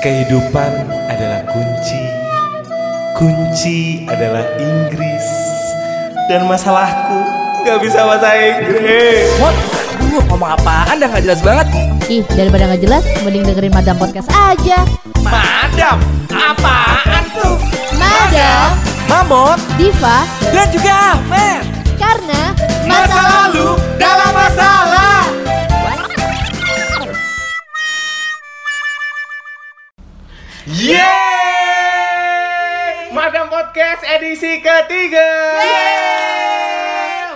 Kehidupan adalah kunci, kunci adalah Inggris, dan masalahku nggak bisa bahasa Inggris. What? Duh, ngomong apaan dah nggak jelas banget. Ih, daripada nggak jelas, mending dengerin Madam Podcast aja. Madam, apaan tuh? Madam, Mamot Diva, dan juga Ahmed. karena dalam masalah. Yeay! Madam Podcast edisi ketiga.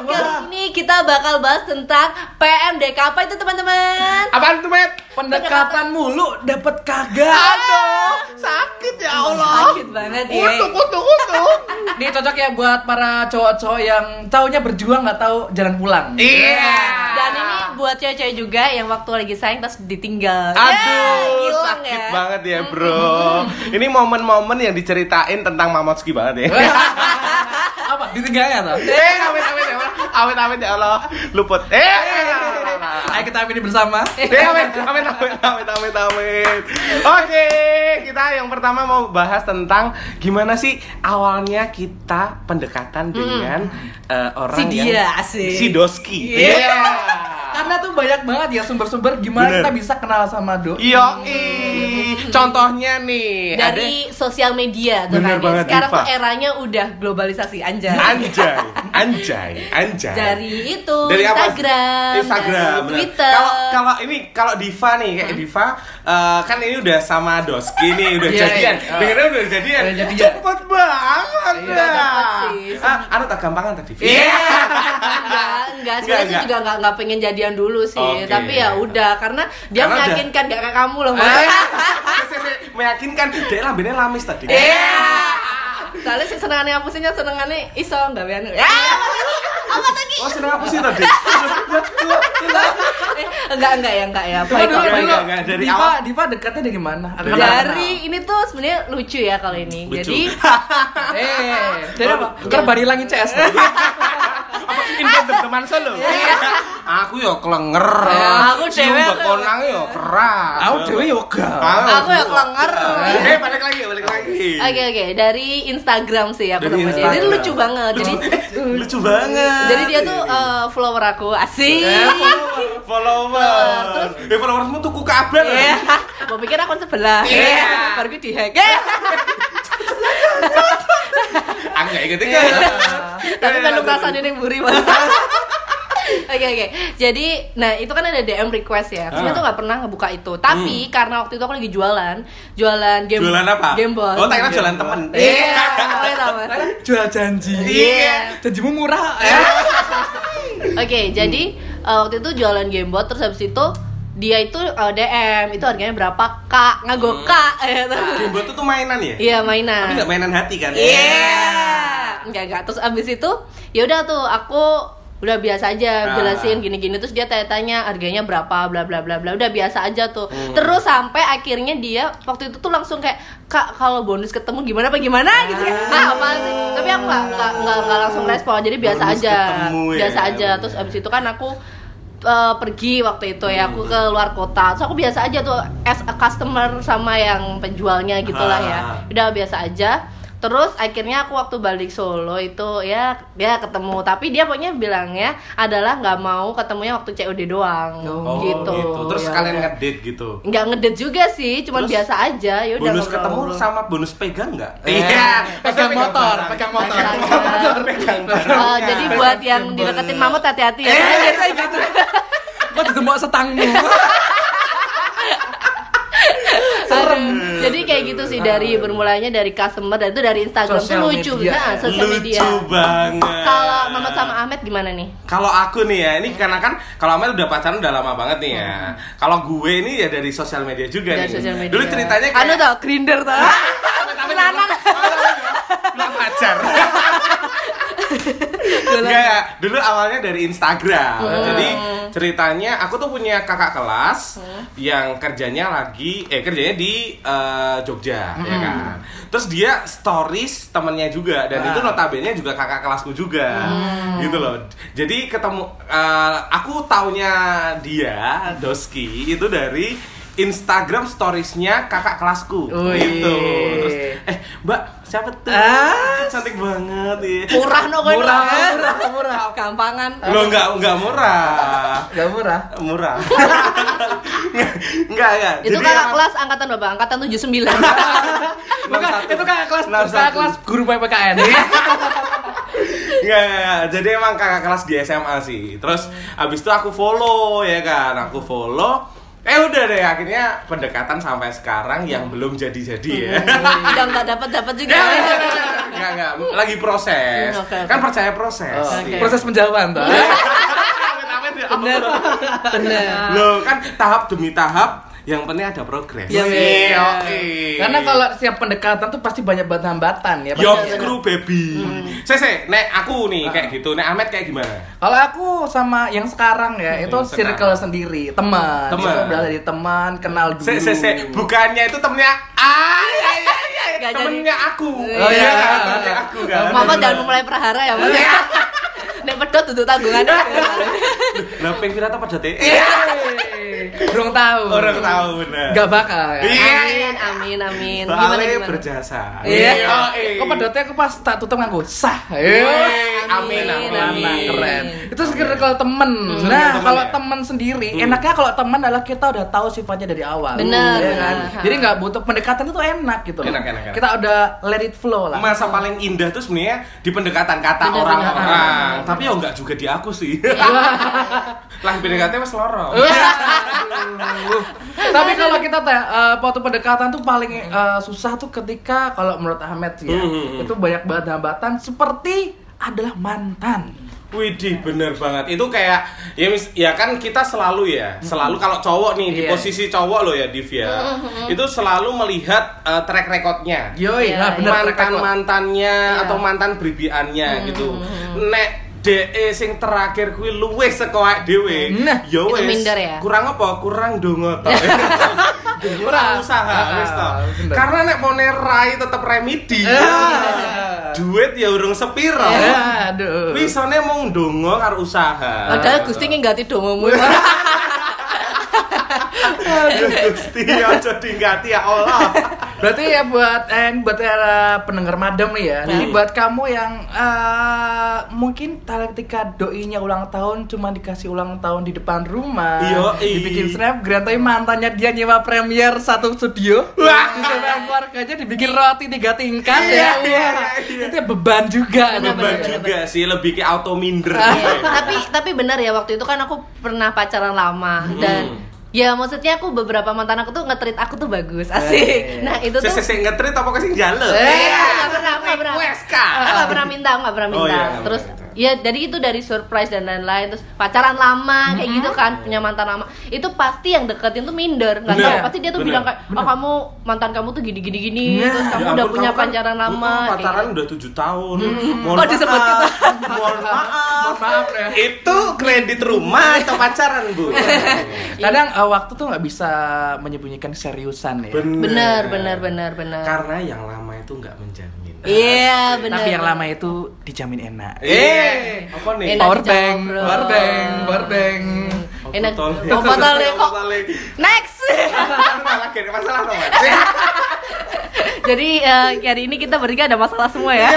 Kali ini kita bakal bahas tentang PMDK apa itu teman-teman? Apaan tuh, Met? Pendekatan mulu dapat kagak. Aduh, Oh, sakit ya Allah. Eh. Sakit banget ya. Kutuk, kutuk, kutuk. Ini cocok ya buat para cowok-cowok yang taunya berjuang nggak tahu jalan pulang. Iya. Dan ini buat cewek-cewek juga yang waktu lagi sayang terus ditinggal. Aduh, hilang sakit ya. banget ya bro. Ini momen-momen yang diceritain tentang Mamotski banget ya. Iya. Apa? Ditinggalnya tuh? Eh, awet, awet ya Allah, awet, awet ya Allah, luput. Eh, Ayo kita amini bersama. Eh, awet, awet, awet, awet, awet, awet. Oke, kita yang pertama mau bahas tentang gimana sih awalnya kita pendekatan dengan eh, orang Si dia, yang asik. si Doski. Iya. Iya. Karena tuh banyak banget ya sumber-sumber gimana Bener. kita bisa kenal sama Iya. doi. Yoi. Contohnya nih Eh, ada Dari sosial media tuh Bener kan. banget, Nah, Sekarang Diva. tuh eranya udah globalisasi anjay. Anjay, anjay, anjay. Dari itu dari apa? Instagram, Instagram, dari benar. Twitter. Kalau kalau ini kalau Diva nih kayak Diva eh, kan ini udah sama Doski nih udah Iya, jadian. Oh. iya. Dengarnya udah jadian. Udah jadian. Cepet banget. Iya, dah. cepet sih. Ah, anu tak gampangan tadi. Diva. enggak, enggak. Enggak, Sebenarnya enggak. tuh juga enggak enggak pengen jadian dulu sih, Oke. tapi ya udah karena dia Karena udah. meyakinkan gak kayak kamu loh. Eh, Mas. meyakinkan dia lambene lamis tadi. Iya. Soalnya sih senengannya ngapusinnya senengannya iso nggak biar. Ya. Oh, senang apa sih tadi? Eh, enggak enggak ya enggak ya. Coba Baik, dulu, baik. Enggak, dulu. enggak, Iya. dari Diva, awal. Diva dekatnya dari mana? Eh, Aku Dari ini tuh sebenarnya lucu ya kalau ini. Lucu. Jadi Eh, dari apa? Iya. Kerbari langit CS. Info teman solo. Iya. Aku yo kelenger. Iya. Aku dewe aku- konang yo keras. Aku dewe ya yoga. aku yang kelenger. Eh, balik lagi, balik lagi. Oke oke, dari Instagram sih ya Dari pertamanya. Jadi Instagram. lucu banget. Jadi Lucu banget. jadi dia tuh eh, follower aku, asik. follower. Nah, Terus- Eh, followersmu tuh ku kabar. Iya. Mau pikir akun sebelah. Iya. Baru gue dihack. Eh, Aku gak inget inget. Iya. Eh, Tapi kan lu perasaan ini yang buri banget. Oke oke. Jadi, nah itu kan ada DM request ya. Ah. Sebenarnya Hmm. tuh nggak pernah ngebuka itu. Tapi karena waktu itu aku lagi jualan, jualan game. Jualan apa? Gameball. Oh, tak kira jualan temen. Iya. pokoknya sama. Jual janji. Iya. Janjimu murah. Eh. Oke, jadi eh, waktu itu jualan gamebot terus habis itu dia itu eh, DM itu harganya berapa kak ngago kak gitu. Jumbo tuh tuh mainan ya? iya Hmm. mainan Tapi gak mainan hati kan? Enggak enggak. Terus abis itu ya udah tuh aku udah biasa aja Ah. jelasin gini-gini terus dia tanya-tanya harganya berapa bla bla bla bla udah biasa aja tuh. Hmm. Terus sampai akhirnya dia waktu itu tuh langsung kayak Kak kalau bonus ketemu gimana apa gimana gitu kayak ah apa sih?" Tapi aku nggak nggak nggak nggak langsung respon jadi biasa Ah. Bonus aja. ketemu ya. Biasa aja. Terus abis itu kan aku eh, pergi waktu itu ya aku ke luar kota. Terus aku biasa aja tuh as a customer sama yang penjualnya gitulah ya Ah. udah biasa aja terus akhirnya aku waktu balik Solo itu ya dia ketemu tapi dia pokoknya bilangnya adalah nggak mau ketemunya waktu COD doang Oh, gitu. Terus Ya kalian udah. ngedate gitu. nggak ngedit juga sih cuman Terus biasa aja ya udah Iya. bonus ketemu ngobrol-ngobrol. sama bonus pegang Iya. nggak? Pegang motor, pegang motor. Astaga. Pegang Eh, barangnya. jadi buat yang dideketin mamut hati-hati ya Eh, biasanya gitu Kok ditembak setangmu? serem Hmm. jadi kayak gitu sih dari bermulanya dari customer dan itu dari Instagram tuh Sosial lucu media. nah sosial media lucu banget. kalau Mamat sama Ahmed gimana nih Kalau aku nih ya, ini karena kan kalau Ahmed udah pacaran udah lama banget nih ya. Kalau gue ini ya dari sosial media juga Hmm. dari nih. sosial media Dulu ceritanya kayak anu tau grinder tau Lanang. Nggak pacar. Enggak ya, dulu awalnya dari Instagram. Oh. Jadi ceritanya aku tuh punya kakak kelas Hmm. yang kerjanya lagi eh kerjanya di eh, Jogja ya Hmm. kan. Terus dia stories temennya juga dan itu notabene juga kakak kelasku juga. Hmm. Gitu loh. Jadi ketemu eh, aku taunya dia Doski itu dari Instagram storiesnya kakak kelasku Wih. gitu terus eh mbak siapa tuh Ah. cantik banget ya Murah no kan? Murah, Mbak. murah, murah. Gampangan. lo nggak nggak murah Gak murah. murah nggak nggak Itu kakak kelas angkatan Bapak, angkatan 79. Bukan, itu kakak kelas, kakak kelas guru PPKN. Nggak, nggak, nggak. jadi emang kakak kelas di SMA sih. Terus abis itu aku follow ya kan, aku follow. Eh udah deh, akhirnya pendekatan sampai sekarang yang belum jadi-jadi ya. Mm-hmm. Udah nggak dapat dapat juga. Nggak, nggak, lagi proses. Hmm, oke, oke. Kan percaya proses. Mm-hmm, Oh, Iya. Proses penjauhan tuh. Amit, amit, ya ampun. Benar. Loh, kan tahap demi tahap yang penting ada progres. Iya, Oke, iya. oke. Karena kalau setiap pendekatan tuh pasti banyak banget hambatan ya. Yo, Pasti- screw baby. Saya, saya, nek aku nih kayak gitu, nek Ahmed kayak gimana? Kalau aku sama yang sekarang ya, itu Hmm, yang circle sekarang. sendiri, teman. Teman. Itu berasal dari teman, kenal dulu. Se, se, se. bukannya itu temennya ay, ay, ay, ay. Nggak temennya aku Oh, iya. kan, temennya aku kan Mama jangan mulai perhara ya, Mas. Iya. Nek pedot duduk tanggungan. lah pengen apa pada teh Iya. Belum tahu. orang tahu bener Gak bakal. ya. iya iya. Amin, amin, amin. Gimana soalnya gimana? berjasa Iya. Yoi. Kok pedotnya aku pas tak tutup nganggo sah. Iya. Yoi. amin amin, Amin. Nah, keren. Itu sekedar kalau temen. Iya. Circle Nah, temen kalau ya? temen sendiri, enaknya kalau temen adalah kita udah tahu sifatnya dari awal. Bener, Iya kan? bener. Jadi nggak butuh pendekatan itu enak gitu. loh. Enak, enak, enak. Kita udah let it flow lah. masa paling indah tuh sebenarnya di pendekatan kata Bener, orang-orang bener, tapi ya nggak juga di aku sih lah pendekatnya mas lorong Tapi kalau kita teh eh, waktu pendekatan tuh paling eh, susah tuh ketika kalau menurut Ahmed sih ya, Hmm. itu banyak banget hambatan seperti adalah mantan. Widih bener banget itu kayak ya mis- ya kan kita selalu ya selalu kalau cowok nih di Iya. posisi cowok loh ya Divya itu selalu melihat eh, track recordnya Yoi, Iya, nah iya. bener mantan rekam. mantannya Iya. atau mantan bribiannya gitu nek DE sing terakhir kuwi luwih saka awake dhewe. Nah. ya Itu wis. minder ya? Kurang apa? Kurang dongo to. Kurang usaha Iya. Ah, wis to. bener. Karena nek mone rai tetep remedi. Ah. Iya. Duit ya urung sepiro. Aduh. Wisone mung dongo karo usaha. Padahal Gusti nginggati dongomu. Aduh, Gusti aja dinggati ya Allah. Berarti ya buat eh, ini buat para pendengar madam nih Iya. ya. Jadi buat kamu yang eh, mungkin tala ketika doinya ulang tahun cuma dikasih ulang tahun di depan rumah, Yoi. dibikin snapgram tapi mantannya dia nyewa premier satu studio. Wah. Di sana keluarganya dibikin roti tiga tingkat ya. Iya, Wah. iya. Itu beban juga. Beban sebenarnya. juga sih lebih ke auto minder. Iya, tapi tapi benar ya waktu itu kan aku pernah pacaran lama Hmm. dan ya maksudnya aku beberapa mantan aku tuh ngetrit aku tuh bagus asik. Eh. Nah itu tuh Sesek ngetrit apa kasih jale? Eh. Iya, nggak pernah, nggak pernah. Request, Kak. Ah, nggak pernah minta, nggak pernah Oh, minta. iya, nggak Terus pernah minta. ya dari itu dari surprise dan lain-lain terus pacaran lama Hmm. kayak gitu kan punya mantan lama itu pasti yang deketin tuh minder nggak Bener. tahu pasti dia tuh Bener. bilang kayak oh kamu mantan kamu tuh gini gini gini Nah. terus kamu Ya udah ampun, punya kamu kan- pacaran lama Mm, kayak pacaran gitu. udah tujuh tahun. Mohon Kok disebut kita? Mohon maaf. Maaf ya. Itu kredit rumah atau pacaran, Bu? Kadang eh, waktu tuh nggak bisa menyembunyikan seriusan ya. bener bener bener bener Karena yang lama itu nggak menjamin. iya bener Tapi yang lama ya. itu dijamin enak. Eh, apa nih? Enak. Power bank, dijawab, bro. power bank, power bank. enak Opo tole. Opo tole kok Opo tole. next Malah kayak masalah apa? Mas? jadi eh, hari ini kita bertiga ada masalah semua ya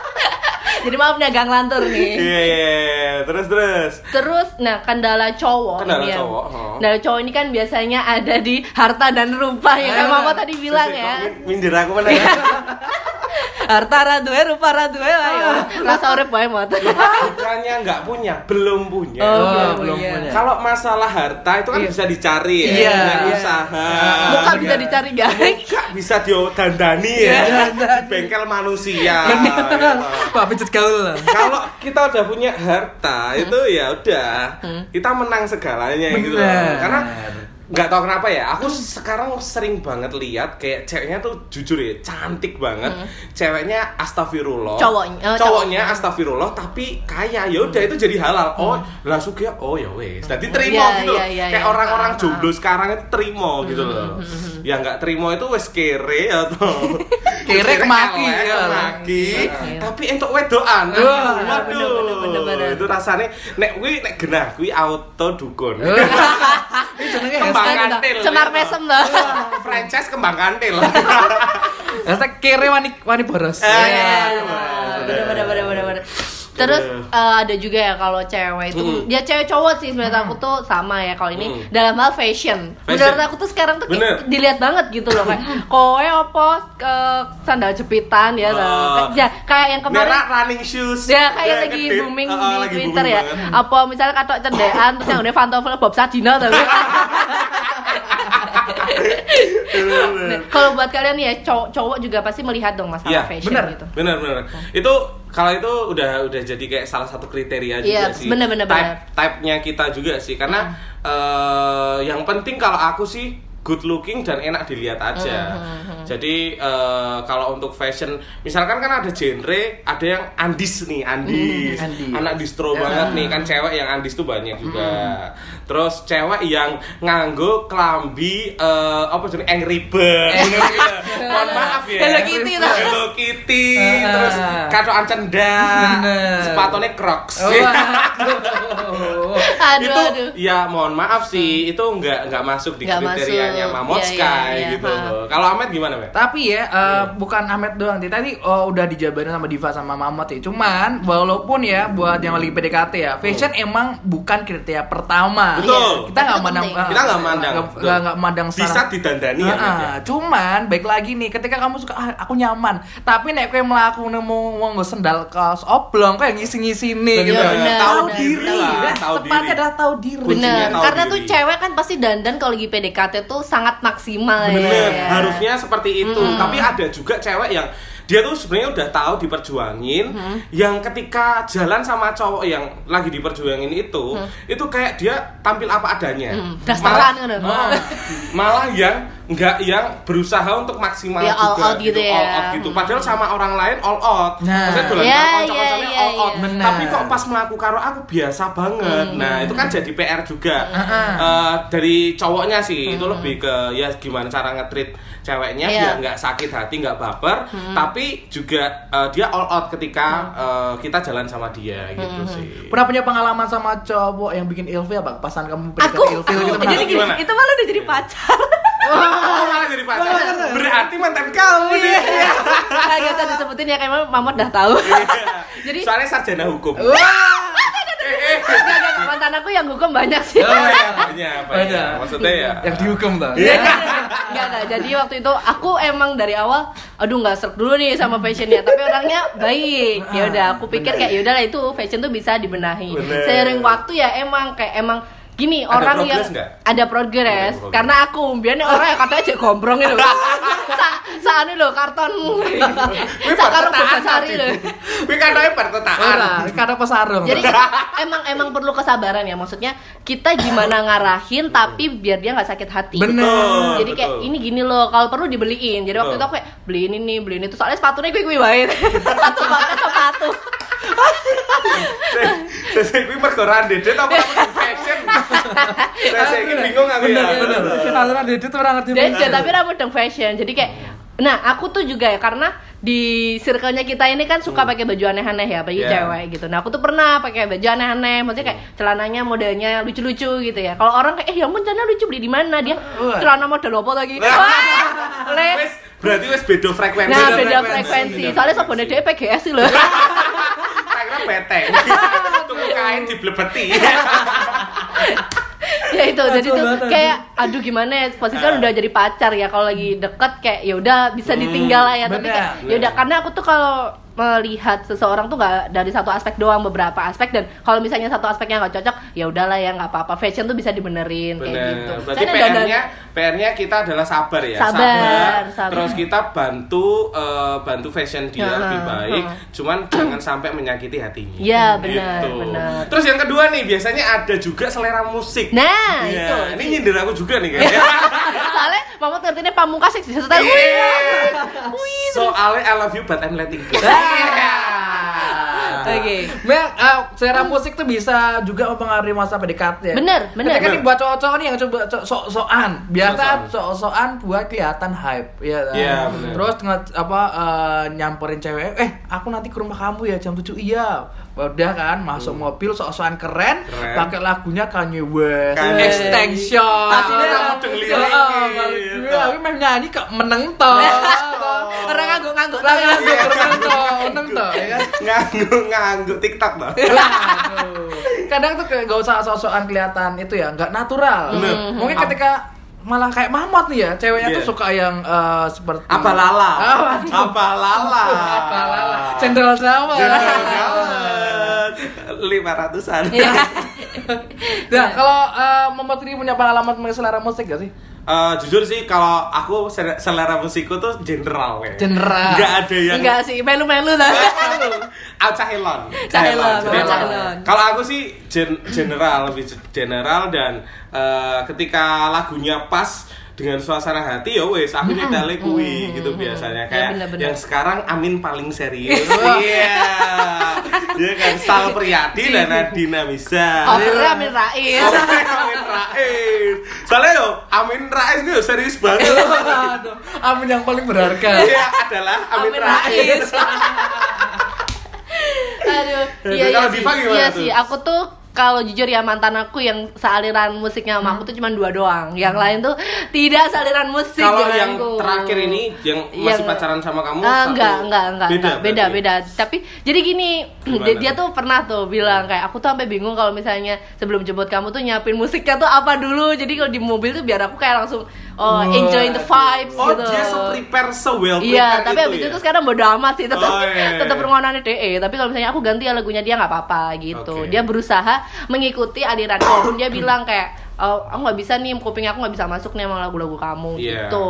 jadi maaf nih agak ngelantur nih Iya, iya, iya. terus terus. Terus, nah kendala cowok Kendala ini ya. cowok, oh. Kendala cowok ini kan biasanya ada di harta dan rupa ya kan Ah. Mama tadi bilang ya. Min- Mindir aku mana? ya? Harta radue, rupa radue lah ya. Ah. Rasa urip wae mot. Bukannya nggak punya, belum punya. Oh, Oh, belum belum punya. punya. Kalau masalah harta itu kan Iya. bisa dicari ya, Iya. dengan Iya. usaha. Muka Iya. bisa dicari guys. Muka bisa diodandani ya, Diodandani. di bengkel manusia. iya. Bener. Gitu. Pak pijat gaul lah. Kalau kita udah punya harta Hmm. itu ya udah, kita menang segalanya gitu. loh. Bener. Karena nggak tahu kenapa ya, aku sekarang sering banget lihat kayak ceweknya tuh jujur ya cantik banget, ceweknya astagfirullah, Hmm. Cowoknya- cowoknya eh, cowoknya. Hmm. astagfirullah tapi kaya, ya udah itu jadi halal. Oh, lah ya, oh ya wes, jadi terima Iya, gitu. loh. iya, iya, kayak iya. Hmm, orang-orang Ah, ah. jomblo sekarang itu terima gitu loh. Ya nggak terima itu wes kere atau Kere kemaki, elek, ya. kemaki. Iya. Tapi entuk wedokan. Wah, Waduh. bener, bener, bener, bener. Itu rasanya nek kuwi nek genah kuwi auto dukun. Ini jenenge Kembang Iya. kan kantil. Semar mesem loh. franchise kembang kantil. Ternyata kere wani wani boros. Eh. Iya, iya, iya, bener bener bener bener bener. Terus eh, ada juga ya kalau cewek itu Mm. dia cewek cowok sih sebenarnya aku tuh sama ya kalau ini Mm. dalam hal fashion. Fashion. Menurut aku tuh sekarang tuh kayak Bener. Mm. dilihat banget gitu loh kayak kowe opo ke sandal jepitan ya, Oh. ya kayak yang kemarin Merah running shoes. Ya kayak Ya, lagi gede. booming Oh, oh, di lagi Twitter booming ya. banget. Apa misalnya katok cendekan terus yang udah pantofel Bob Sadino tapi. Nah, Kalau buat kalian ya cowok, cowok juga pasti melihat dong masalah Iya, fashion bener. gitu. benar benar itu kalau itu udah udah jadi kayak salah satu kriteria juga Iya, sih bener, bener, type bener. type-nya kita juga sih karena eh, yang penting kalau aku sih good looking dan enak dilihat aja jadi eh, kalau untuk fashion misalkan kan ada genre ada yang andis nih andis, Hmm, andis. anak distro banget nih kan cewek yang andis tuh banyak juga terus cewek yang nganggo klambi eh, apa sih angry bird mohon maaf ya Hello Kitty tuh. Hello Kitty Ah. terus katoan cendak Bener. Oh, sepatunya Crocs iya. Wah. Aduh itu aduh. Hmm. ya mohon maaf sih itu nggak nggak masuk di Nggak kriterianya masuk. Mamot Iya, Sky iya, iya, gitu ha. kalau Ahmed gimana Met? Tapi ya, eh, Iya. bukan Ahmed doang. Di Tadi oh, udah dijabarin sama Diva sama Mamat ya. Cuman, walaupun ya buat yang lagi PDKT ya, fashion emang bukan kriteria pertama. Oh. Betul. Kita nggak Tapi mandang, penting. eh, kita nggak mandang nggak- betul. nggak nggak mandang bisa secara- Ah, didandani ya, Met, ya Iya, Heeh, cuman baik lagi nih ketika kamu suka ah, aku nyaman tapi nek kowe mlaku nemu wong nggo sendal kaos oblong kowe ngisi-ngisi nih Bener, gitu bener, tahu bener, diri bener. dah, Tahu tepatnya diri. adalah tahu diri Kuncinya Bener, tahu karena diri. tuh cewek kan pasti dandan kalau lagi PDKT tuh sangat maksimal ya. Bener, harusnya seperti itu. Hmm. Tapi ada juga cewek yang dia tuh sebenarnya udah tahu diperjuangin, Hmm. yang ketika jalan sama cowok yang lagi diperjuangin itu, itu kayak dia tampil apa adanya. Hmm, Malah, dasaran kan udah. Ah, malah yang nggak yang berusaha untuk maksimal Ya, juga, all out gitu ya. all out gitu. Padahal sama orang lain all out. Nah. Maksudnya dolan karo Ya, ya, kanca-kancane ya, all out. ya. Hmm. Bener. Tapi kok pas melaku karo aku biasa banget. Nah, itu kan jadi PR juga. Heeh. Eh, dari cowoknya sih itu lebih ke ya gimana cara nge-treat ceweknya Hmm. Iya. Hmm. biar nggak sakit hati nggak baper tapi juga eh, dia all out ketika eh, kita jalan sama dia gitu Hmm. sih pernah punya pengalaman sama cowok yang bikin ilfil apa pasangan kamu Nah, PDKT Aku, ilfil aku, gitu pernah. jadi gini, Gimana? itu malah udah jadi pacar. Oh, malah jadi pacar berarti mantan kamu Iya. nih Nah, gak usah disebutin ya, kayak Mamot udah tahu. Iya. Jadi- soalnya sarjana hukum eh eh Gak, gak, gak. mantan aku yang hukum banyak sih. Oh, ya, banyak, banyak. Banyak. maksudnya ya yang dihukum tuh Iya. Enggak enggak. Jadi waktu itu aku emang dari awal aduh nggak serk dulu nih sama fashionnya, tapi orangnya baik. Ya udah aku pikir kayak ya udahlah itu fashion tuh bisa dibenahi. Bener. Seiring waktu ya emang kayak emang gini Ada orang yang progress nggak? ada progres Ada progress. karena aku biasanya orang yang katanya cek gombrong itu sa saat lo karton sa karung perkotaan sari tadi. lo Wih, katanya perkotaan Ora, Iya. karena pesarung jadi emang emang perlu kesabaran ya maksudnya kita gimana ngarahin tapi biar dia nggak sakit hati Bener. Betul, jadi kayak betul. ini gini loh kalau perlu dibeliin jadi Betul. waktu itu aku kayak beli ini nih beli ini tuh soalnya sepatunya gue gue banget sepatu banget sepatu Saya saya ini perkoran dedet apa apa fashion. Saya saya ini bingung aku ya. bener bener karena dia itu orang ngerti dan dan- tapi rambut dong fashion jadi kayak nah aku tuh juga ya karena di circle-nya kita ini kan suka pakai baju aneh-aneh ya bagi Yeah. cewek gitu nah aku tuh pernah pakai baju aneh-aneh maksudnya kayak celananya modelnya lucu-lucu gitu ya kalau orang kayak eh ya ampun celana lucu beli di mana dia Wah. celana model apa lagi Wah. Wah, les. Wes berarti wes beda frekuensi. Nah, beda frekuensi. frekuensi. Soalnya sabunnya dia PGS sih loh. Karena beteng. Tunggu kain diblebeti. ya itu. Jadi tuh banget, kayak aduh gimana ya posisinya udah jadi pacar ya kalau lagi deket kayak ya udah bisa ditinggal lah ya tapi bener. kayak ya udah karena aku tuh kalau melihat seseorang tuh nggak dari satu aspek doang beberapa aspek dan kalau misalnya satu aspeknya nggak cocok ya udahlah ya nggak apa-apa fashion tuh bisa dibenerin kayak gitu. Bener. Berarti Soalnya dandan- PR-nya PR-nya kita adalah sabar ya. Sabar, sabar. Terus kita bantu eh, bantu fashion dia Ya, lebih baik. ha. Cuman jangan sampai menyakiti hatinya. Gitu. Ya, benar, benar. Terus yang kedua nih biasanya ada juga selera musik. Nah, itu. Iya, ini nyindir aku juga nih kayaknya. Soalnya mama tuh ngertinya pamungkas sih bisa tahu. Iya. Soalnya I love you but I'm letting go. Ah. Oke. Memang, Nah. eh, selera musik tuh bisa juga mempengaruhi masa PDKT. Bener, bener. Ketika nih Bener. buat cowok-cowok nih yang coba co- sok-sokan, biasa Sok-sokan. sok-sokan buat kelihatan hype. Ya, kan? Iya, bener. Terus nge, apa eh, nyamperin cewek, eh aku nanti ke rumah kamu ya jam 7 iya. Udah kan, masuk mobil sok-sokan keren, Hmm. Keren. pakai lagunya Kanye West, Kanye. Extension. Tapi dia tak mudeng liriknya, gitu. Iya, aku main nyanyi kok meneng toh. Orang ngangguk-ngguk. Lah ngangguk renang toh, renang toh, ya kan? Nganggur nganggur TikTok bang. Waduh. Kadang tuh kayak gak usah sok-sokan kelihatan itu ya, nggak natural. Bener. Mungkin ketika malah kayak mamot nih ya, ceweknya tuh Iya. suka yang eh, seperti Apa lala? Ah, waduh. Apa lala? Apa lala? Cendral Jawa. Lima ratusan. Iya. Nah, kalau eh, Mamot ini punya pengalaman mengenai selera musik gak sih? Eh, jujur sih kalau aku selera- selera musikku tuh general ya. General. Gak ada yang Enggak sih, melu-melu lah. Iya. Ah, Cahilon. Cahilon, Jadi oh, emang- Cahilon. Kalau aku sih gen- general lebih general dan eh, ketika lagunya pas dengan suasana hati ya wes aku nyetel kui gitu biasanya Ya, kayak bener-bener. yang sekarang Amin paling serius. Iya. Iya kan Sal Priyadi dan Nadina Misa. Covernya Amin Rais. Amin Rais. Soalnya yo Amin Rais itu yo serius banget. Aduh, amin yang paling berharga. Iya adalah Amin, Amin Rais. Rais. Aduh, Eh, iya, iya, kalau sih. Diva gimana Iya tuh? sih, aku tuh kalau jujur ya mantan aku yang sealiran musiknya sama aku tuh cuma dua doang. Yang lain tuh tidak sealiran musik Hmm. Kalau yang denganku. terakhir ini yang masih Yang- pacaran sama kamu Iya, Ah, satu- enggak, enggak, enggak, Beda. enggak. beda, berarti. beda. Tapi jadi gini, Gimana? Hmm. dia, dia tuh pernah tuh bilang kayak aku tuh sampai bingung kalau misalnya sebelum jemput kamu tuh nyiapin musiknya tuh apa dulu. Jadi kalau di mobil tuh biar aku kayak langsung oh, enjoying the vibes Oh, gitu. dia se prepare se well Iya, prepared tapi abis ya? itu sekarang bodo amat sih tetap Oh, iya, iya. tetap permohonannya DE. E, Tapi kalau misalnya aku ganti ya lagunya dia nggak apa-apa gitu. Oke. Dia berusaha mengikuti aliran aku. Dia bilang kayak "Oh, aku nggak bisa nih kuping aku nggak bisa masuk nih sama lagu-lagu kamu Iya. gitu.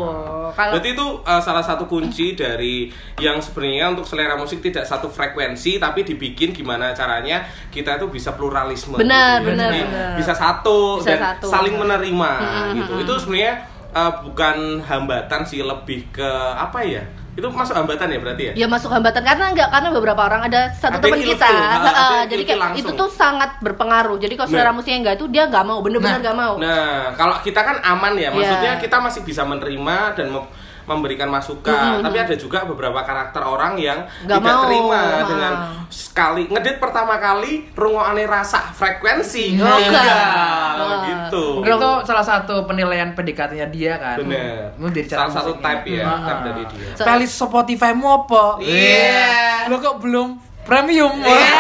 Kalau Berarti itu uh, salah satu kunci dari yang sebenarnya untuk selera musik tidak satu frekuensi tapi dibikin gimana caranya kita itu bisa pluralisme. Benar, gitu ya. benar, Jadi benar. Bisa satu Bisa dan satu. saling menerima gitu. Itu sebenarnya uh, bukan hambatan sih lebih ke apa ya? Itu masuk hambatan ya berarti ya? Ya masuk hambatan karena enggak karena beberapa orang ada satu Ada yang teman kita, ilfil, ha, ada heeh, yang jadi ilfil kayak langsung. itu tuh sangat berpengaruh. Jadi kalau selera Nah. musiknya enggak itu dia enggak mau, bener-bener Nah. enggak mau. Nah, kalau kita kan aman ya, maksudnya Oh. Iya. kita masih bisa menerima dan mem- memberikan masukan. Tapi ada juga beberapa karakter orang yang Mm-hmm. Nggak tidak mau. terima Ah. dengan sekali ngedit pertama kali rungokane rasa frekuensi. Enggak. Enggak, Ah. gitu. Itu salah satu penilaian pendekatannya dia kan. Bener. Itu dari cara Salah satu musiknya. type ya, Heeh. type dari dia. So- Playlist Spotify mu apa? Iya. Lo kok belum premium? Ya,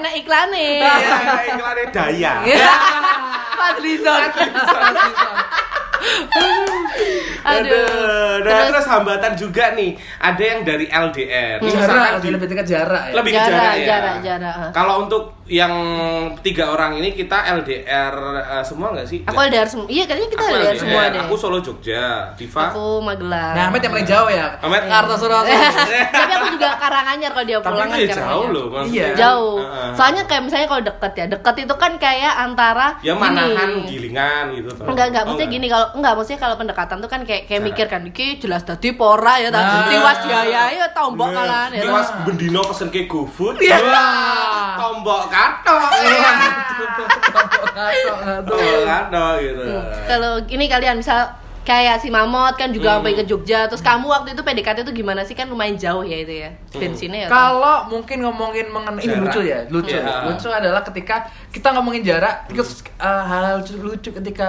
enak iklannya. Iya, iklannya daya. Iya. Iya. Fadlizon. Aduh. Aduh. Nah, terus, hambatan juga nih. Ada yang dari Iya, LDR. Ini misalkan jarak, di- lebih dekat jarak ya. lebih Jarak, ke jarak ya. jarak, jarak, ah. Kalau untuk yang tiga orang ini kita LDR eh, semua nggak sih? Aku LDR semua. Iya, kayaknya kita Aku LDR semua deh. Aku Solo Jogja, Diva. Aku Magelang. Nah, Ahmed yang paling jauh ya. Ahmed. Iya. Kartosuroso. Tapi aku juga Karanganyar kalau dia Tapi pulang itu kan ya jauh Karanganyar. loh maksudnya. Iya. Jauh. Heeh. Soalnya kayak misalnya kalau deket ya, deket itu kan kayak antara ya manahan gini. gilingan gitu. toh. Enggak, enggak, Oh, maksudnya gini kalau enggak maksudnya kalau pendekatan tuh kan kayak kayak Cara. mikir kan iki jelas dadi pora ya ta. Nah. Tiwas biaya ya tombok Bener. kalan ya. Ini ta. Mas Bendino pesen ke GoFood. Iya. Wah, Tombok katok. Tombok katok gitu. Kalau ini kalian misal kayak si Mamot kan juga sampai Hmm. ke Jogja, terus kamu waktu itu PDKT itu gimana sih kan lumayan jauh ya itu ya. Hmm. Bensinnya ya. Kalau mungkin ngomongin mengenai ini Jarak. lucu ya, lucu. Iya. Lucu adalah ketika kita ngomongin jarak, terus eh, hal lucu, lucu ketika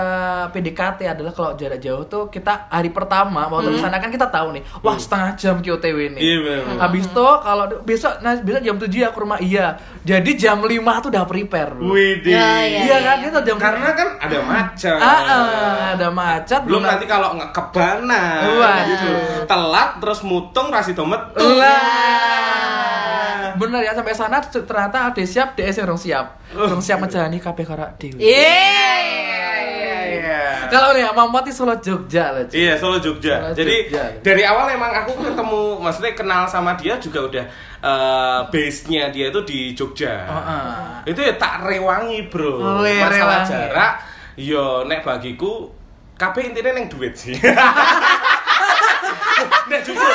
PDKT adalah kalau jarak jauh tuh kita hari pertama waktu di sana kan kita tahu nih, wah setengah jam KOTW nih. Hmm. Iya, bener, bener. Habis itu kalau besok nah besok jam 7 ya ke rumah iya. Jadi jam 5 tuh udah prepare. Bro. Widih. Ya, ya. Iya kan kita jam Karena kan ada macam. Ah, ah, ada macet belum nanti kalau nggak kebana Waduh. gitu telat terus mutung rasido metu Iya. Lah. Bener ya sampai sana ternyata ada siap, DS yang rong siap. Rong Oh, siap iya. menjalani kabeh karo dhewe. Yeay. Kalau nih Mamot di Solo Jogja lah. Ci. Iya Solo Jogja. Solo Jadi Jogja. dari awal emang aku ketemu, maksudnya kenal sama dia juga udah eh, base-nya dia itu di Jogja. Oh, ah. Heeh. Itu ya tak rewangi bro. Wih, Oh, iya, Masalah rewangi. jarak, yo nek bagiku, kabeh intinya neng duit sih. Nek jujur,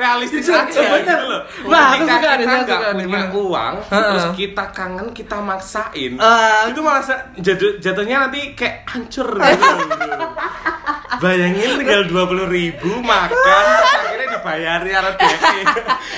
realistis Jujur, aja gitu bener. loh. Wah, aku Ketika suka deh, kita aku nggak suka deh, punya bener. uang, Heeh. terus kita kangen, kita maksain. Eh, itu malah se- jatuh, jatuhnya nanti kayak hancur gitu. Bayangin tinggal 20.000 ribu makan, terus akhirnya dibayarin arah DE.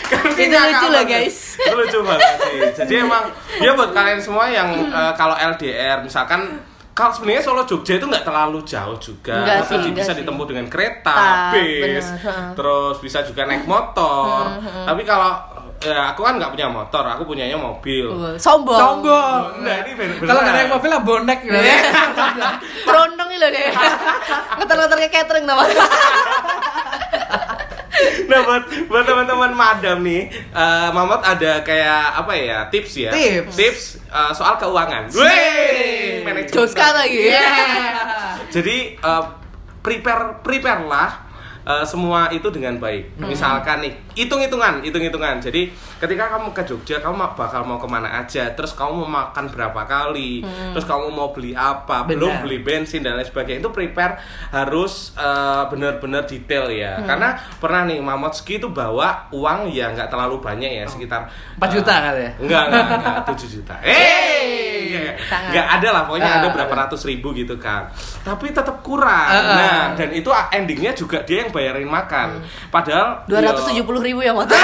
Kan Itu kayak lucu kapan loh, tuh? guys. Itu lucu banget sih. Jadi emang ya buat kalian semua yang eh, kalau LDR misalkan kalau sebenarnya Solo Jogja itu nggak terlalu jauh juga, Enggak Maksudnya sih, enggak bisa sih. ditempuh dengan kereta, Ta, bis, bener, ha. terus bisa juga naik motor. Tapi kalau ya, aku kan nggak punya motor, aku punyanya mobil. Sombong. sombong. Nah, ini Iya. bener- Kalau nggak ada yang beneran. mobil lah bonek gitu ya. Berondong nih loh deh. Ngeter-ngeter ke catering nama. Nah buat buat teman-teman madam nih, eh Mamot ada kayak apa ya tips ya? Tips. eh, soal keuangan. Wey, manajemen. Joska gitu. lagi. Jadi eh, prepare prepare lah eh, semua itu dengan baik. Misalkan nih hitung-hitungan, hitung-hitungan. Jadi ketika kamu ke Jogja, kamu ma- bakal mau kemana aja, terus kamu mau makan berapa kali, terus kamu mau beli apa, belum Benar. beli bensin dan lain sebagainya. Itu prepare harus eh, benar-benar detail ya. Karena pernah nih Mamotski itu bawa uang yang nggak terlalu banyak ya, sekitar 4 juta eh, kali ya. Enggak, enggak, enggak, 7 juta. Eh, Sangat. enggak ada lah, pokoknya Ah, ada ada. berapa ratus ribu gitu kan. Tapi tetap kurang. Ah, ah. Nah, dan itu endingnya juga dia yang bayarin makan. Hmm. Padahal iya. 270 ribu ya motor.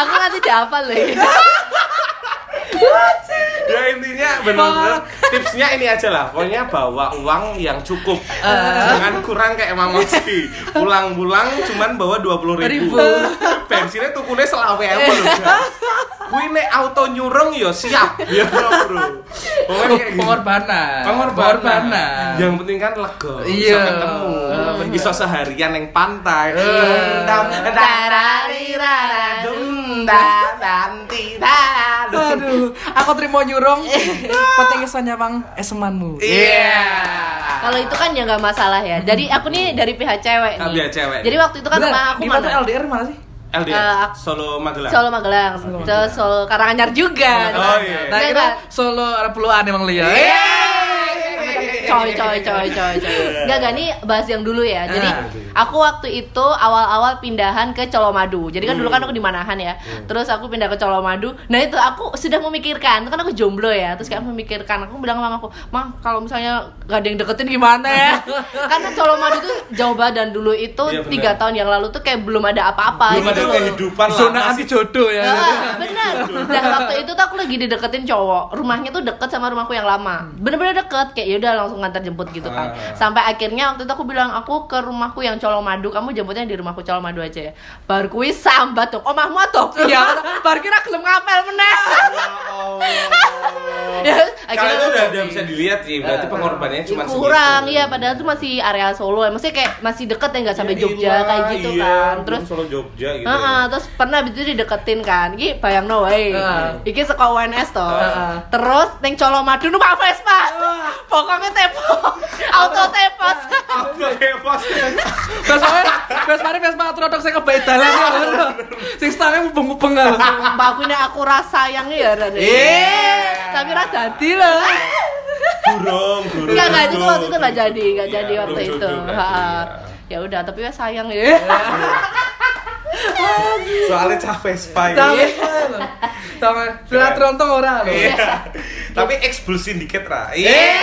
Aku nanti dihafal loh. Ya intinya benar-benar tipsnya ini aja lah. Pokoknya bawa uang yang cukup. Ah. Jangan kurang kayak Mama Siti. Pulang-pulang cuman bawa 20 ribu. Ribu. Bensinnya tukunya selawe apa loh. guys. Kuwi nek auto nyurung yo siap. Ya bro. Pokoknya kayak gitu. Pengorbanan. Pengorbanan. Yang penting kan lega, Iya. bisa ketemu, Bener. bisa seharian yang pantai. Eh. Tam- taradum, tadam, tidadum. Aduh, aku terima nyurung. Penting kesannya bang esemanmu. Iya. Kalau itu kan ya nggak masalah ya. Dari aku nih dari pihak cewek Ah, nih. pihak cewek. Jadi waktu itu kan sama aku Diva tuh mana? LDR mana sih? LDR, Eh, aku- Solo Magelang. Solo Magelang, terus Solo Karanganyar juga. Oh, iya. Nah, Iya, kita kan? Solo ada puluhan emang lihat. coy coy coy coy coy nggak nggak nih bahas yang dulu ya jadi Ah. aku waktu itu awal-awal pindahan ke Colomadu jadi kan dulu kan aku di Manahan ya Hmm. terus aku pindah ke Colomadu nah itu aku sudah memikirkan kan aku jomblo ya terus kayak memikirkan aku bilang sama mamaku mah kalau misalnya nggak ada yang deketin gimana ya karena Colomadu tuh jauh banget dan dulu itu Iya, benar. tiga tahun yang lalu tuh kayak belum ada apa-apa Belum ada gitu loh. kehidupan lah. Zona masih- anti jodoh ya. Iya, Nah, bener. Dan waktu itu tuh aku lagi dideketin cowok. Rumahnya tuh deket sama rumahku yang lama. Bener-bener deket. Kayak yaudah langsung ngantar jemput gitu kan. Hmm. Ah. Sampai akhirnya waktu itu aku bilang aku ke rumahku yang Colomadu. Kamu jemputnya di rumahku Colomadu aja ya. Bar kuis sambat tuh. Omahmu tuh. Iya. Bar kira gelem ngapel meneh. Ya, Kalau akhirnya- itu udah, udah bisa dilihat sih, berarti pengorbanannya cuma segitu. kurang ya padahal tuh masih area Solo ya maksudnya kayak masih deket ya nggak sampai Iya, Jogja kayak gitu iya, kan belum terus Solo Jogja gitu. Heeh, ya. terus pernah abis itu dideketin kan. Iki bayang no wae. Heeh. Iki saka UNS to. Heeh. Terus ning Colomadu numpak Vespa. Pokoknya tepo. Auto tepos. ya. Aku heboh. Terus mari, terus mari Vespa ortodoks saya kebaik dalam ya. bener. Sing stare mubeng-mubeng ya. Mbak aku ini aku rasa yang ya Ran. Iya. Tapi ra dadi lho. Burung, burung. Enggak enggak itu burung. waktu itu enggak jadi, enggak Iya, jadi waktu belum itu. jodoh berarti, Heeh. iya. Ya udah, tapi wes sayang ya. soalnya cah Vespa ini. Tapi Tapi sudah terontong ora lho. Iya. tapi ekspul sindiket lah Yeay. ya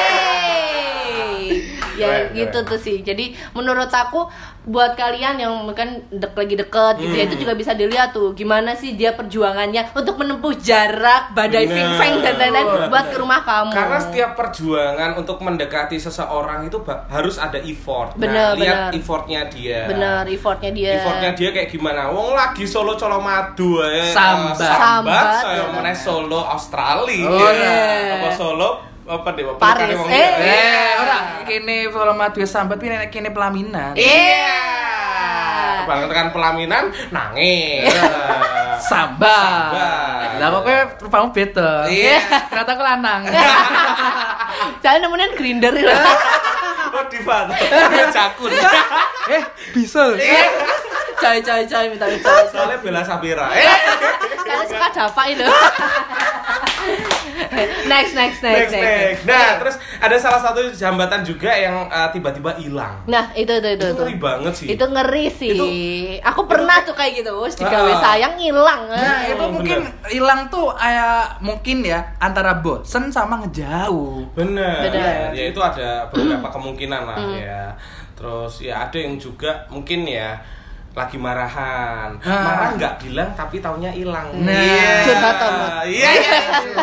Iya. Keren, gitu keren. tuh sih jadi menurut aku buat kalian yang kan dek lagi deket gitu ya itu Hmm. juga bisa dilihat tuh gimana sih dia perjuangannya untuk menempuh jarak badai Bener. fingfeng dan lain-lain Bener. buat ke rumah kamu karena setiap perjuangan untuk mendekati seseorang itu ba- harus ada effort Bener, nah, lihat bener. effortnya dia bener effortnya dia Effortnya dia kayak gimana? Wong lagi solo colo madu ya. Sambat. sambat, Sambat, saya ya. meneh solo Australia. Oh, ya. iya. Apa solo apa deh apa pelukannya Paris. wong Eh. liya. Eh, ora kene kalau madu sambat piye nek kene pelaminan. iya Nah. Kebangetan kan pelaminan nangis. Sambat. Sambat. Lah pokoknya rupamu beda. Iya. Ternyata aku lanang. jangan nemenin grinder lah Oh, Divan. Jakun. Eh, bisa. Iya. iya. coy coy coy minta coy Soalnya Bella Sabira. Eh. kalian suka dapain loh next, next, next, next next Iya. nah terus ada salah satu jambatan juga yang eh, tiba-tiba hilang Nah, itu itu itu. itu itu. ngeri banget sih Itu ngeri sih. Itu- Aku pernah tuh kayak gitu, wes digawe Ah. sayang hilang. Nah, Hmm, itu mungkin hilang tuh kayak mungkin ya antara bosen sama ngejauh. Bener. Bener. Mm. Ya itu ada beberapa kemungkinan lah ya. Terus ya ada yang juga mungkin ya lagi marahan. Ah. Marah nggak bilang tapi taunya hilang. Nah. Iya. Curhat, Tomat. Iya. iya.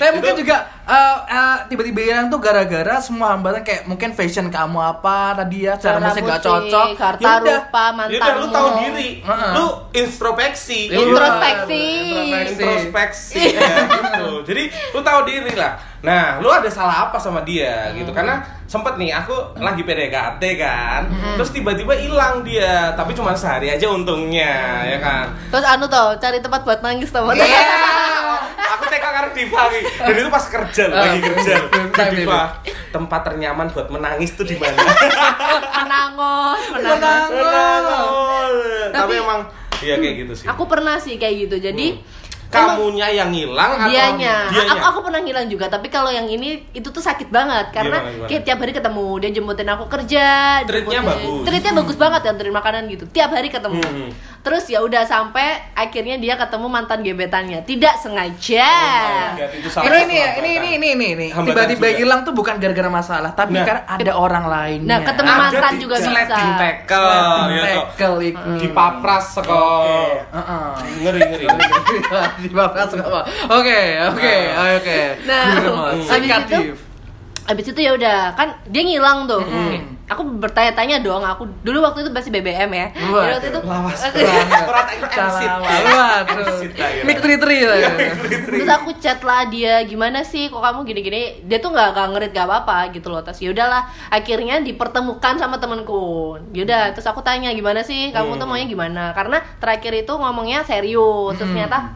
Tapi mungkin juga eh, eh, tiba-tiba hilang tuh gara-gara semua hambatan kayak mungkin fashion kamu apa tadi ya, cara musik gak cocok. Harta Ya udah. rupa Ya mantanmu. udah lu tahu diri. Heeh. Lu introspeksi. Iya, Introspeksi. introspeksi. introspeksi ya, gitu. Jadi lu tahu diri lah. Nah, lu ada salah apa sama dia gitu karena sempet nih aku lagi PDKT kan. Terus tiba-tiba hilang dia, tapi cuma sehari aja untungnya ya kan. Terus anu tau, cari tempat buat nangis tau Iya. aku TK karena diva lagi. Dan itu pas kerja loh, Oh. lagi kerja. Di diva. Tempat ternyaman buat menangis tuh di mana? Menangos, menangos. Menang- Menangol. Tapi Tapi- emang iya kayak gitu sih. Aku pernah sih kayak gitu. Jadi Hmm. kamunya yang hilang atau dianya. dianya? Oh, Aku, aku pernah ngilang juga, tapi kalau yang ini itu tuh sakit banget karena Gimana, gimana? kayak tiap hari ketemu, dia jemputin aku kerja, Treatnya jemputin- bagus. Treatnya bagus banget ya, anterin makanan gitu. Tiap hari ketemu. Hmm. Terus ya udah sampai akhirnya dia ketemu mantan gebetannya. Tidak sengaja. Oh my God, itu salah Ini satu ini ini hambatan. ini ini ini, ini. Hambatan tiba-tiba juga. hilang tuh bukan gara-gara masalah, tapi Nah. karena ada orang lain. Nah, ketemu Ada mantan di juga bisa. sledding tackle, ya toh. tackle itu. di papras seko Heeh. ngeri ngeri ngeri. Di bapak suka apa? Oke, oke, oke. Nah, Bener banget. habis itu- Sikatif. Abis itu ya udah kan dia ngilang tuh. Hmm. Aku bertanya-tanya dong. Aku dulu waktu itu masih BBM ya. Waduh, Jadi waktu itu lawas Aku- banget Orang tak ikut Salah, exit. waduh. Exit lah, ya. Mik tri-tri lah. ya. terus aku chat lah dia gimana sih kok kamu gini-gini dia tuh nggak nggak ngerit gak apa-apa gitu loh terus yaudahlah akhirnya dipertemukan sama temanku yaudah terus aku tanya gimana sih kamu tuh maunya gimana karena terakhir itu ngomongnya serius terus ternyata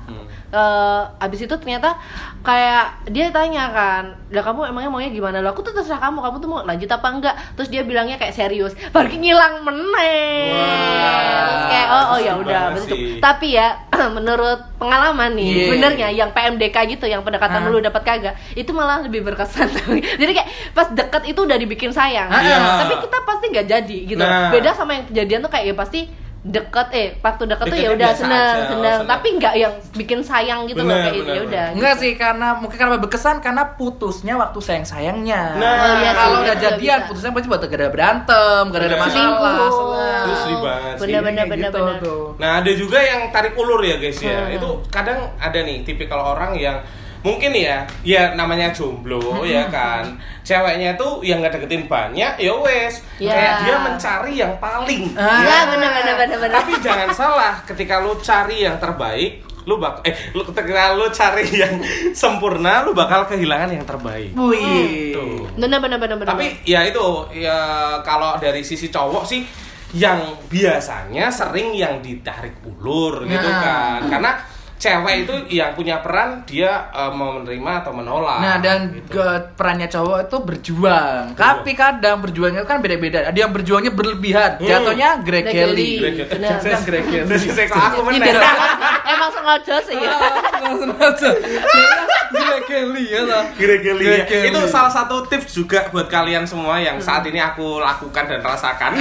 eh, abis itu ternyata kayak dia tanya kan lah kamu emangnya maunya gimana loh aku tuh terserah kamu kamu tuh mau lanjut apa enggak terus dia bilangnya kayak serius baru ngilang meneng Terus kayak oh oh ya udah Gimana betul sih? tapi ya menurut pengalaman nih Iya. benernya yang PMDK gitu yang pendekatan Ah. lu dapat kagak itu malah lebih berkesan jadi kayak pas deket itu udah dibikin sayang Ah, iya. tapi kita pasti nggak jadi gitu Nah. beda sama yang kejadian tuh kayak ya pasti deket eh waktu deket tuh ya Deketnya udah biasa seneng aja, oh, seneng seneng. tapi nggak yang bikin sayang gitu loh Bener, kayak bener, ya udah Enggak sih karena mungkin karena berkesan karena putusnya waktu sayang sayangnya. Nah, Oh, iya sih, kalau iya udah juga jadian bisa. putusnya pasti buat gara-gara berantem, gara-gara Bener. masalah. selang. Itu sedih banget sih. bener bener Kayak bener gitu bener tuh. Nah ada juga yang tarik ulur ya guys ya. Itu kadang ada nih tipikal orang yang mungkin ya, ya namanya jomblo ya kan. Ceweknya tuh yang nggak deketin banyak, ya wes. Ya. Kayak dia mencari yang paling. Ya. Ah. Iya, bener bener bener bener Tapi jangan salah, ketika lu cari yang terbaik, lu bak eh lu ketika lu cari yang sempurna, lu bakal kehilangan yang terbaik. Gitu. Wih. Tuh. bener bener bener bener Tapi ya itu ya kalau dari sisi cowok sih yang biasanya sering yang ditarik ulur gitu Nah. kan. Karena cewek itu yang punya peran dia eh, mau menerima atau menolak. Nah dan gitu. Iya. ke- perannya cowok itu berjuang. Tapi kadang berjuangnya kan beda-beda. Ada yang berjuangnya berlebihan, Hmm. jatuhnya Gregeli. gregeli. Greget. Bener. Saya greget. Saya kok iya. aku Iya, Ini menang. bener- emang sengaja sih Iya. Iya, ya Gregeli ya toh. Gregeli. Gregeli. Itu salah satu tips juga buat kalian semua yang saat ini aku lakukan dan rasakan.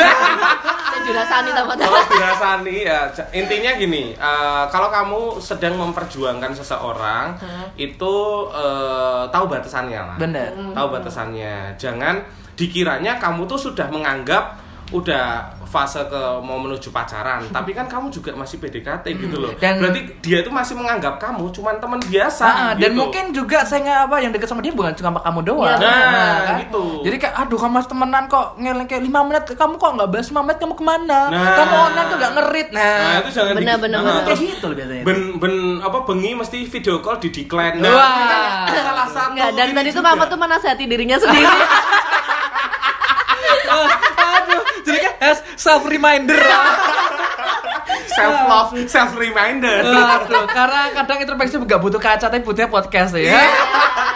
Jurasani tambah kalau dirasani ya c- intinya gini eh, kalau kamu sedang memperjuangkan seseorang itu eh, tahu batasannya lah Bener. tahu batasannya jangan dikiranya kamu tuh sudah menganggap udah fase ke mau menuju pacaran tapi kan kamu juga masih PDKT gitu loh Hmm. Dan- berarti dia itu masih menganggap kamu cuman teman biasa Ah, dan gitu. mungkin juga saya nggak apa yang deket sama dia bukan cuma sama kamu doang. Nah, kan? Iya, benar. gitu. Jadi kayak aduh kamu masih temenan kok ngeleng kayak 5 menit kamu kok nggak bahas 5 menit kamu kemana? Nah. Kamu online tuh nggak ngerit. Nah, nah itu jangan Benar, dikit- benar, Nah, benar. kayak terus gitu loh biasanya. ben ben apa bengi mesti video call di decline nah, Wah. itu kan salah satu Enggak, dan ini tadi tuh juga. mama tuh menasihati dirinya sendiri. Iya, Ah, aduh, jadi kayak self reminder. self love, self reminder. aduh, karena kadang introspeksi nggak butuh kaca tapi butuhnya podcast Iya. Ya, ya.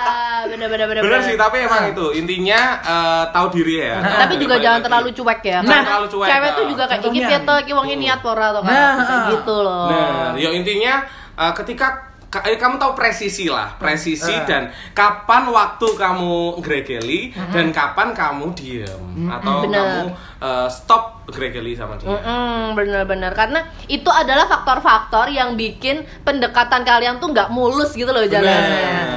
bener bener bener. Bener sih, bener. tapi emang itu intinya eh, tahu diri ya. Tahu Nah. tapi diri juga balik jangan lagi. terlalu cuek ya. Nah, karena terlalu cuek, Cewek nah. tuh juga kayak gitu, iki Contohnya. pieto iki wonge niat ora to kan. Nah, Kayak ah. gitu loh. Nah, ya intinya eh, ketika Ka- eh, kamu tahu presisi lah, presisi Nah. dan kapan waktu kamu gregeli dan kapan kamu diem atau Benar. kamu eh, stop gregeli sama dia. Mm-mm, bener-bener karena itu adalah faktor-faktor yang bikin pendekatan kalian tuh nggak mulus gitu loh jalannya.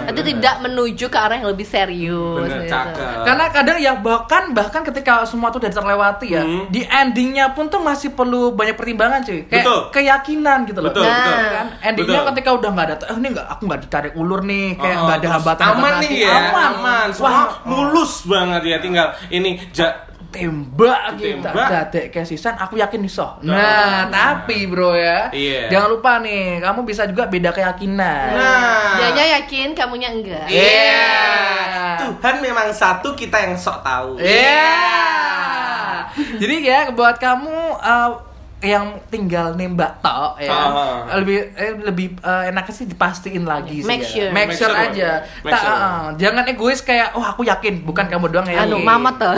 Bener, Itu bener. tidak menuju ke arah yang lebih serius. Bener, gitu. cakep. karena kadang ya bahkan bahkan ketika semua tuh udah terlewati ya Hmm. di endingnya pun tuh masih perlu banyak pertimbangan cuy kayak Betul. keyakinan gitu loh betul, Nah, betul. kan endingnya Betul. ketika udah nggak ada eh, ini nggak aku nggak ditarik ulur nih kayak Oh, nggak ada terus hambatan aman hati. nih ya, aman, Semua Oh. wah mulus banget ya tinggal ini ja- tembak gitu Tembak. dadek kesisan aku yakin iso Nah. nah tapi bro ya Iya. jangan lupa nih kamu bisa juga beda keyakinan Nah, Iya. Dianya yakin, kamunya enggak. Iya. Yeah. Tuhan memang satu kita yang sok tahu. Yeah. Jadi ya buat kamu eh, yang tinggal nembak tok ya. Ah. Lebih eh, lebih eh, enaknya sih dipastiin lagi sih. Make ya. sure. Make Make sure sure. aja. Make Tak, sure. eh, jangan egois kayak oh aku yakin bukan kamu doang yang Anu, yakin. Iya. mamat tuh.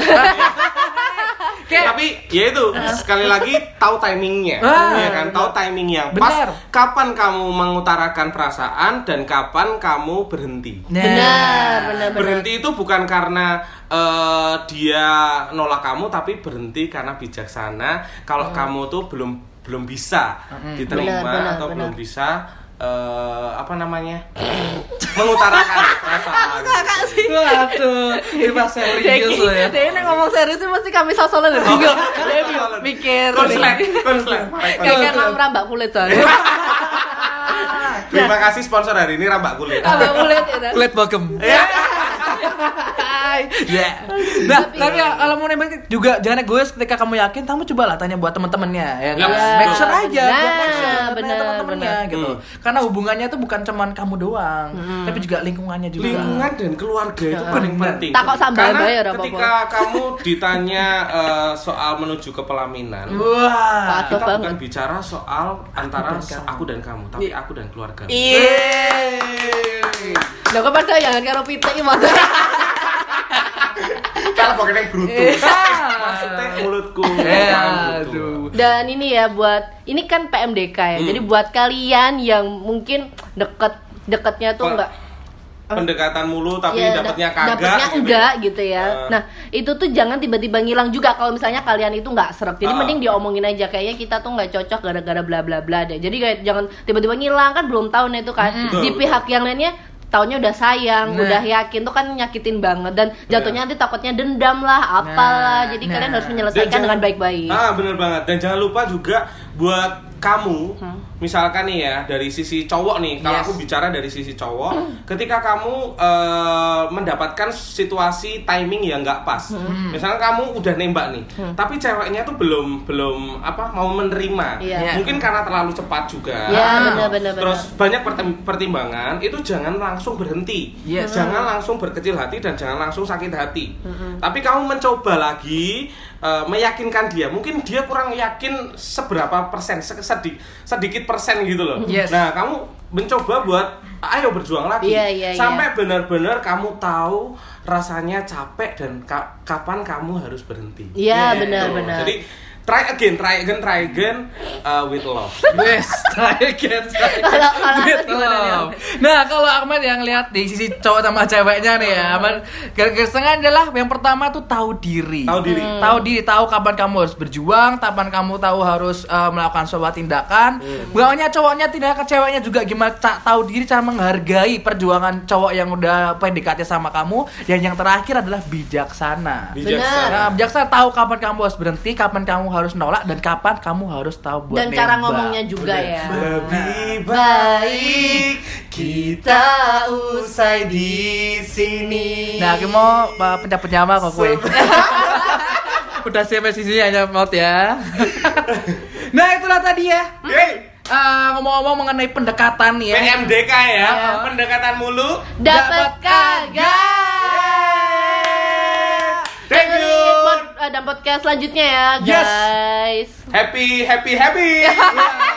Kayak- Tapi ya itu sekali lagi tahu timingnya, Ah, ya kan? Tahu timing yang pas. Benar. Kapan kamu mengutarakan perasaan dan kapan kamu berhenti. Nah. Benar, benar, benar. Berhenti itu bukan karena eh, dia nolak kamu, tapi berhenti karena bijaksana. Hmm. Kalau kamu tuh belum belum bisa diterima Benar, Hmm. benar, atau benar. belum bisa eh, apa namanya mengutarakan perasaan. Waduh, bebas serius lo ya. Dia ini ngomong serius sih mesti kami sosolan dan bingung. Dia Sosolan. mikir. Oh. Konslet, konslet. Kayak kan rambak kulit soalnya. Terima kasih sponsor hari ini Rambak Kulit. Rambak kulit ya. dah. Kulit bogem. Ya. Ya. Nah, tapi ya, kalau mau nembak juga jangan egois ketika kamu yakin, kamu cobalah tanya buat temen-temennya ya kan. Ya, Make sure aja benar, buat make sure temen- benar, temen-temennya benar. gitu. Karena hubungannya tuh bukan cuman kamu doang, tapi juga lingkungannya juga. lingkungan dan keluarga itu Ya, paling bener. penting. Tak kok sambal Iya. Karena bae ya, ora apa-apa. ketika kamu ditanya eh, soal menuju ke pelaminan, Iya. Wah. Patuh kita banget. bukan bicara soal antara se- aku dan kamu, tapi aku dan keluarga. Iya. Lah kok padha jangan karo pitik iki Mas. Kalau pakai yang brutu, Nah. maksudnya mulutku. Iya, Eh, Bukan brutu. aduh. Dan ini ya buat ini kan PMDK ya. Jadi buat kalian yang mungkin deket deketnya tuh Pe- enggak Pendekatan mulu tapi ya, dapatnya dap- kagak. dapatnya gitu. enggak gitu ya. Eh. Nah, itu tuh jangan tiba-tiba ngilang juga kalau misalnya kalian itu nggak serap. Jadi Ah. mending diomongin aja kayaknya kita tuh nggak cocok gara-gara bla bla bla deh. Jadi kayak jangan tiba-tiba ngilang kan belum tahu nih itu kan. Betul, Di betul. pihak yang lainnya taunya udah sayang, Hmm. Nah. udah yakin tuh kan nyakitin banget dan Nah. jatuhnya nanti takutnya dendam lah, Nah, apalah. Jadi nah. kalian harus Dan menyelesaikan jangan- dengan baik-baik. Ah, bener banget. Dan jangan lupa juga buat kamu, misalkan nih ya, dari sisi cowok nih, kalau Yes. aku bicara dari sisi cowok, ketika kamu eh, mendapatkan situasi timing yang nggak pas, misalkan kamu udah nembak nih, tapi ceweknya tuh belum belum apa mau menerima, Iya. mungkin karena terlalu cepat juga, Gitu. Ya, bener-bener, terus banyak pertim- pertimbangan, itu jangan langsung berhenti, Yes. jangan langsung berkecil hati dan jangan langsung sakit hati. Tapi kamu mencoba lagi eh, meyakinkan dia. Mungkin dia kurang yakin seberapa persen, se- sedi- sedikit persen gitu loh. Yes. Nah, kamu mencoba buat ayo berjuang lagi Iya, iya, sampai benar-benar kamu tahu rasanya capek dan ka- kapan kamu harus berhenti. Iya, Gitu. benar-benar. Jadi try again, try again, try again uh, with love. Wes, try again, try again. Kalau- kalau Ahmad Gitu. gimana nih, Ahmad? Nah, kalau Ahmad yang lihat di sisi cowok sama ceweknya nih ya, Ahmad kesengan adalah yang pertama tuh tahu diri. Tahu diri. Hmm. Tahu diri, tahu kapan kamu harus berjuang, kapan kamu tahu harus eh, melakukan sebuah tindakan. Hmm. Bukan hanya cowoknya, tindakan ceweknya juga gimana ca- tahu diri cara menghargai perjuangan cowok yang udah PDKT sama kamu dan yang terakhir adalah bijaksana. Bijaksana. Nah, bijaksana tahu kapan kamu harus berhenti, kapan kamu harus nolak dan kapan kamu harus tahu buat Dan cara nembak. ngomongnya juga ya. Lebih baik kita usai di sini. Nah, aku mau uh, pencet-pencet apa kok kue. Udah sampai sisinya aja maut ya. nah, itulah tadi ya. Hey, Eh, ngomong-ngomong mengenai pendekatan nih ya. PMDK ya, pendekatan mulu. Dapat kagak. Nah. Thank you. Dengerin pod- eh, Dan podcast selanjutnya ya, Yes. guys. Happy, happy, happy.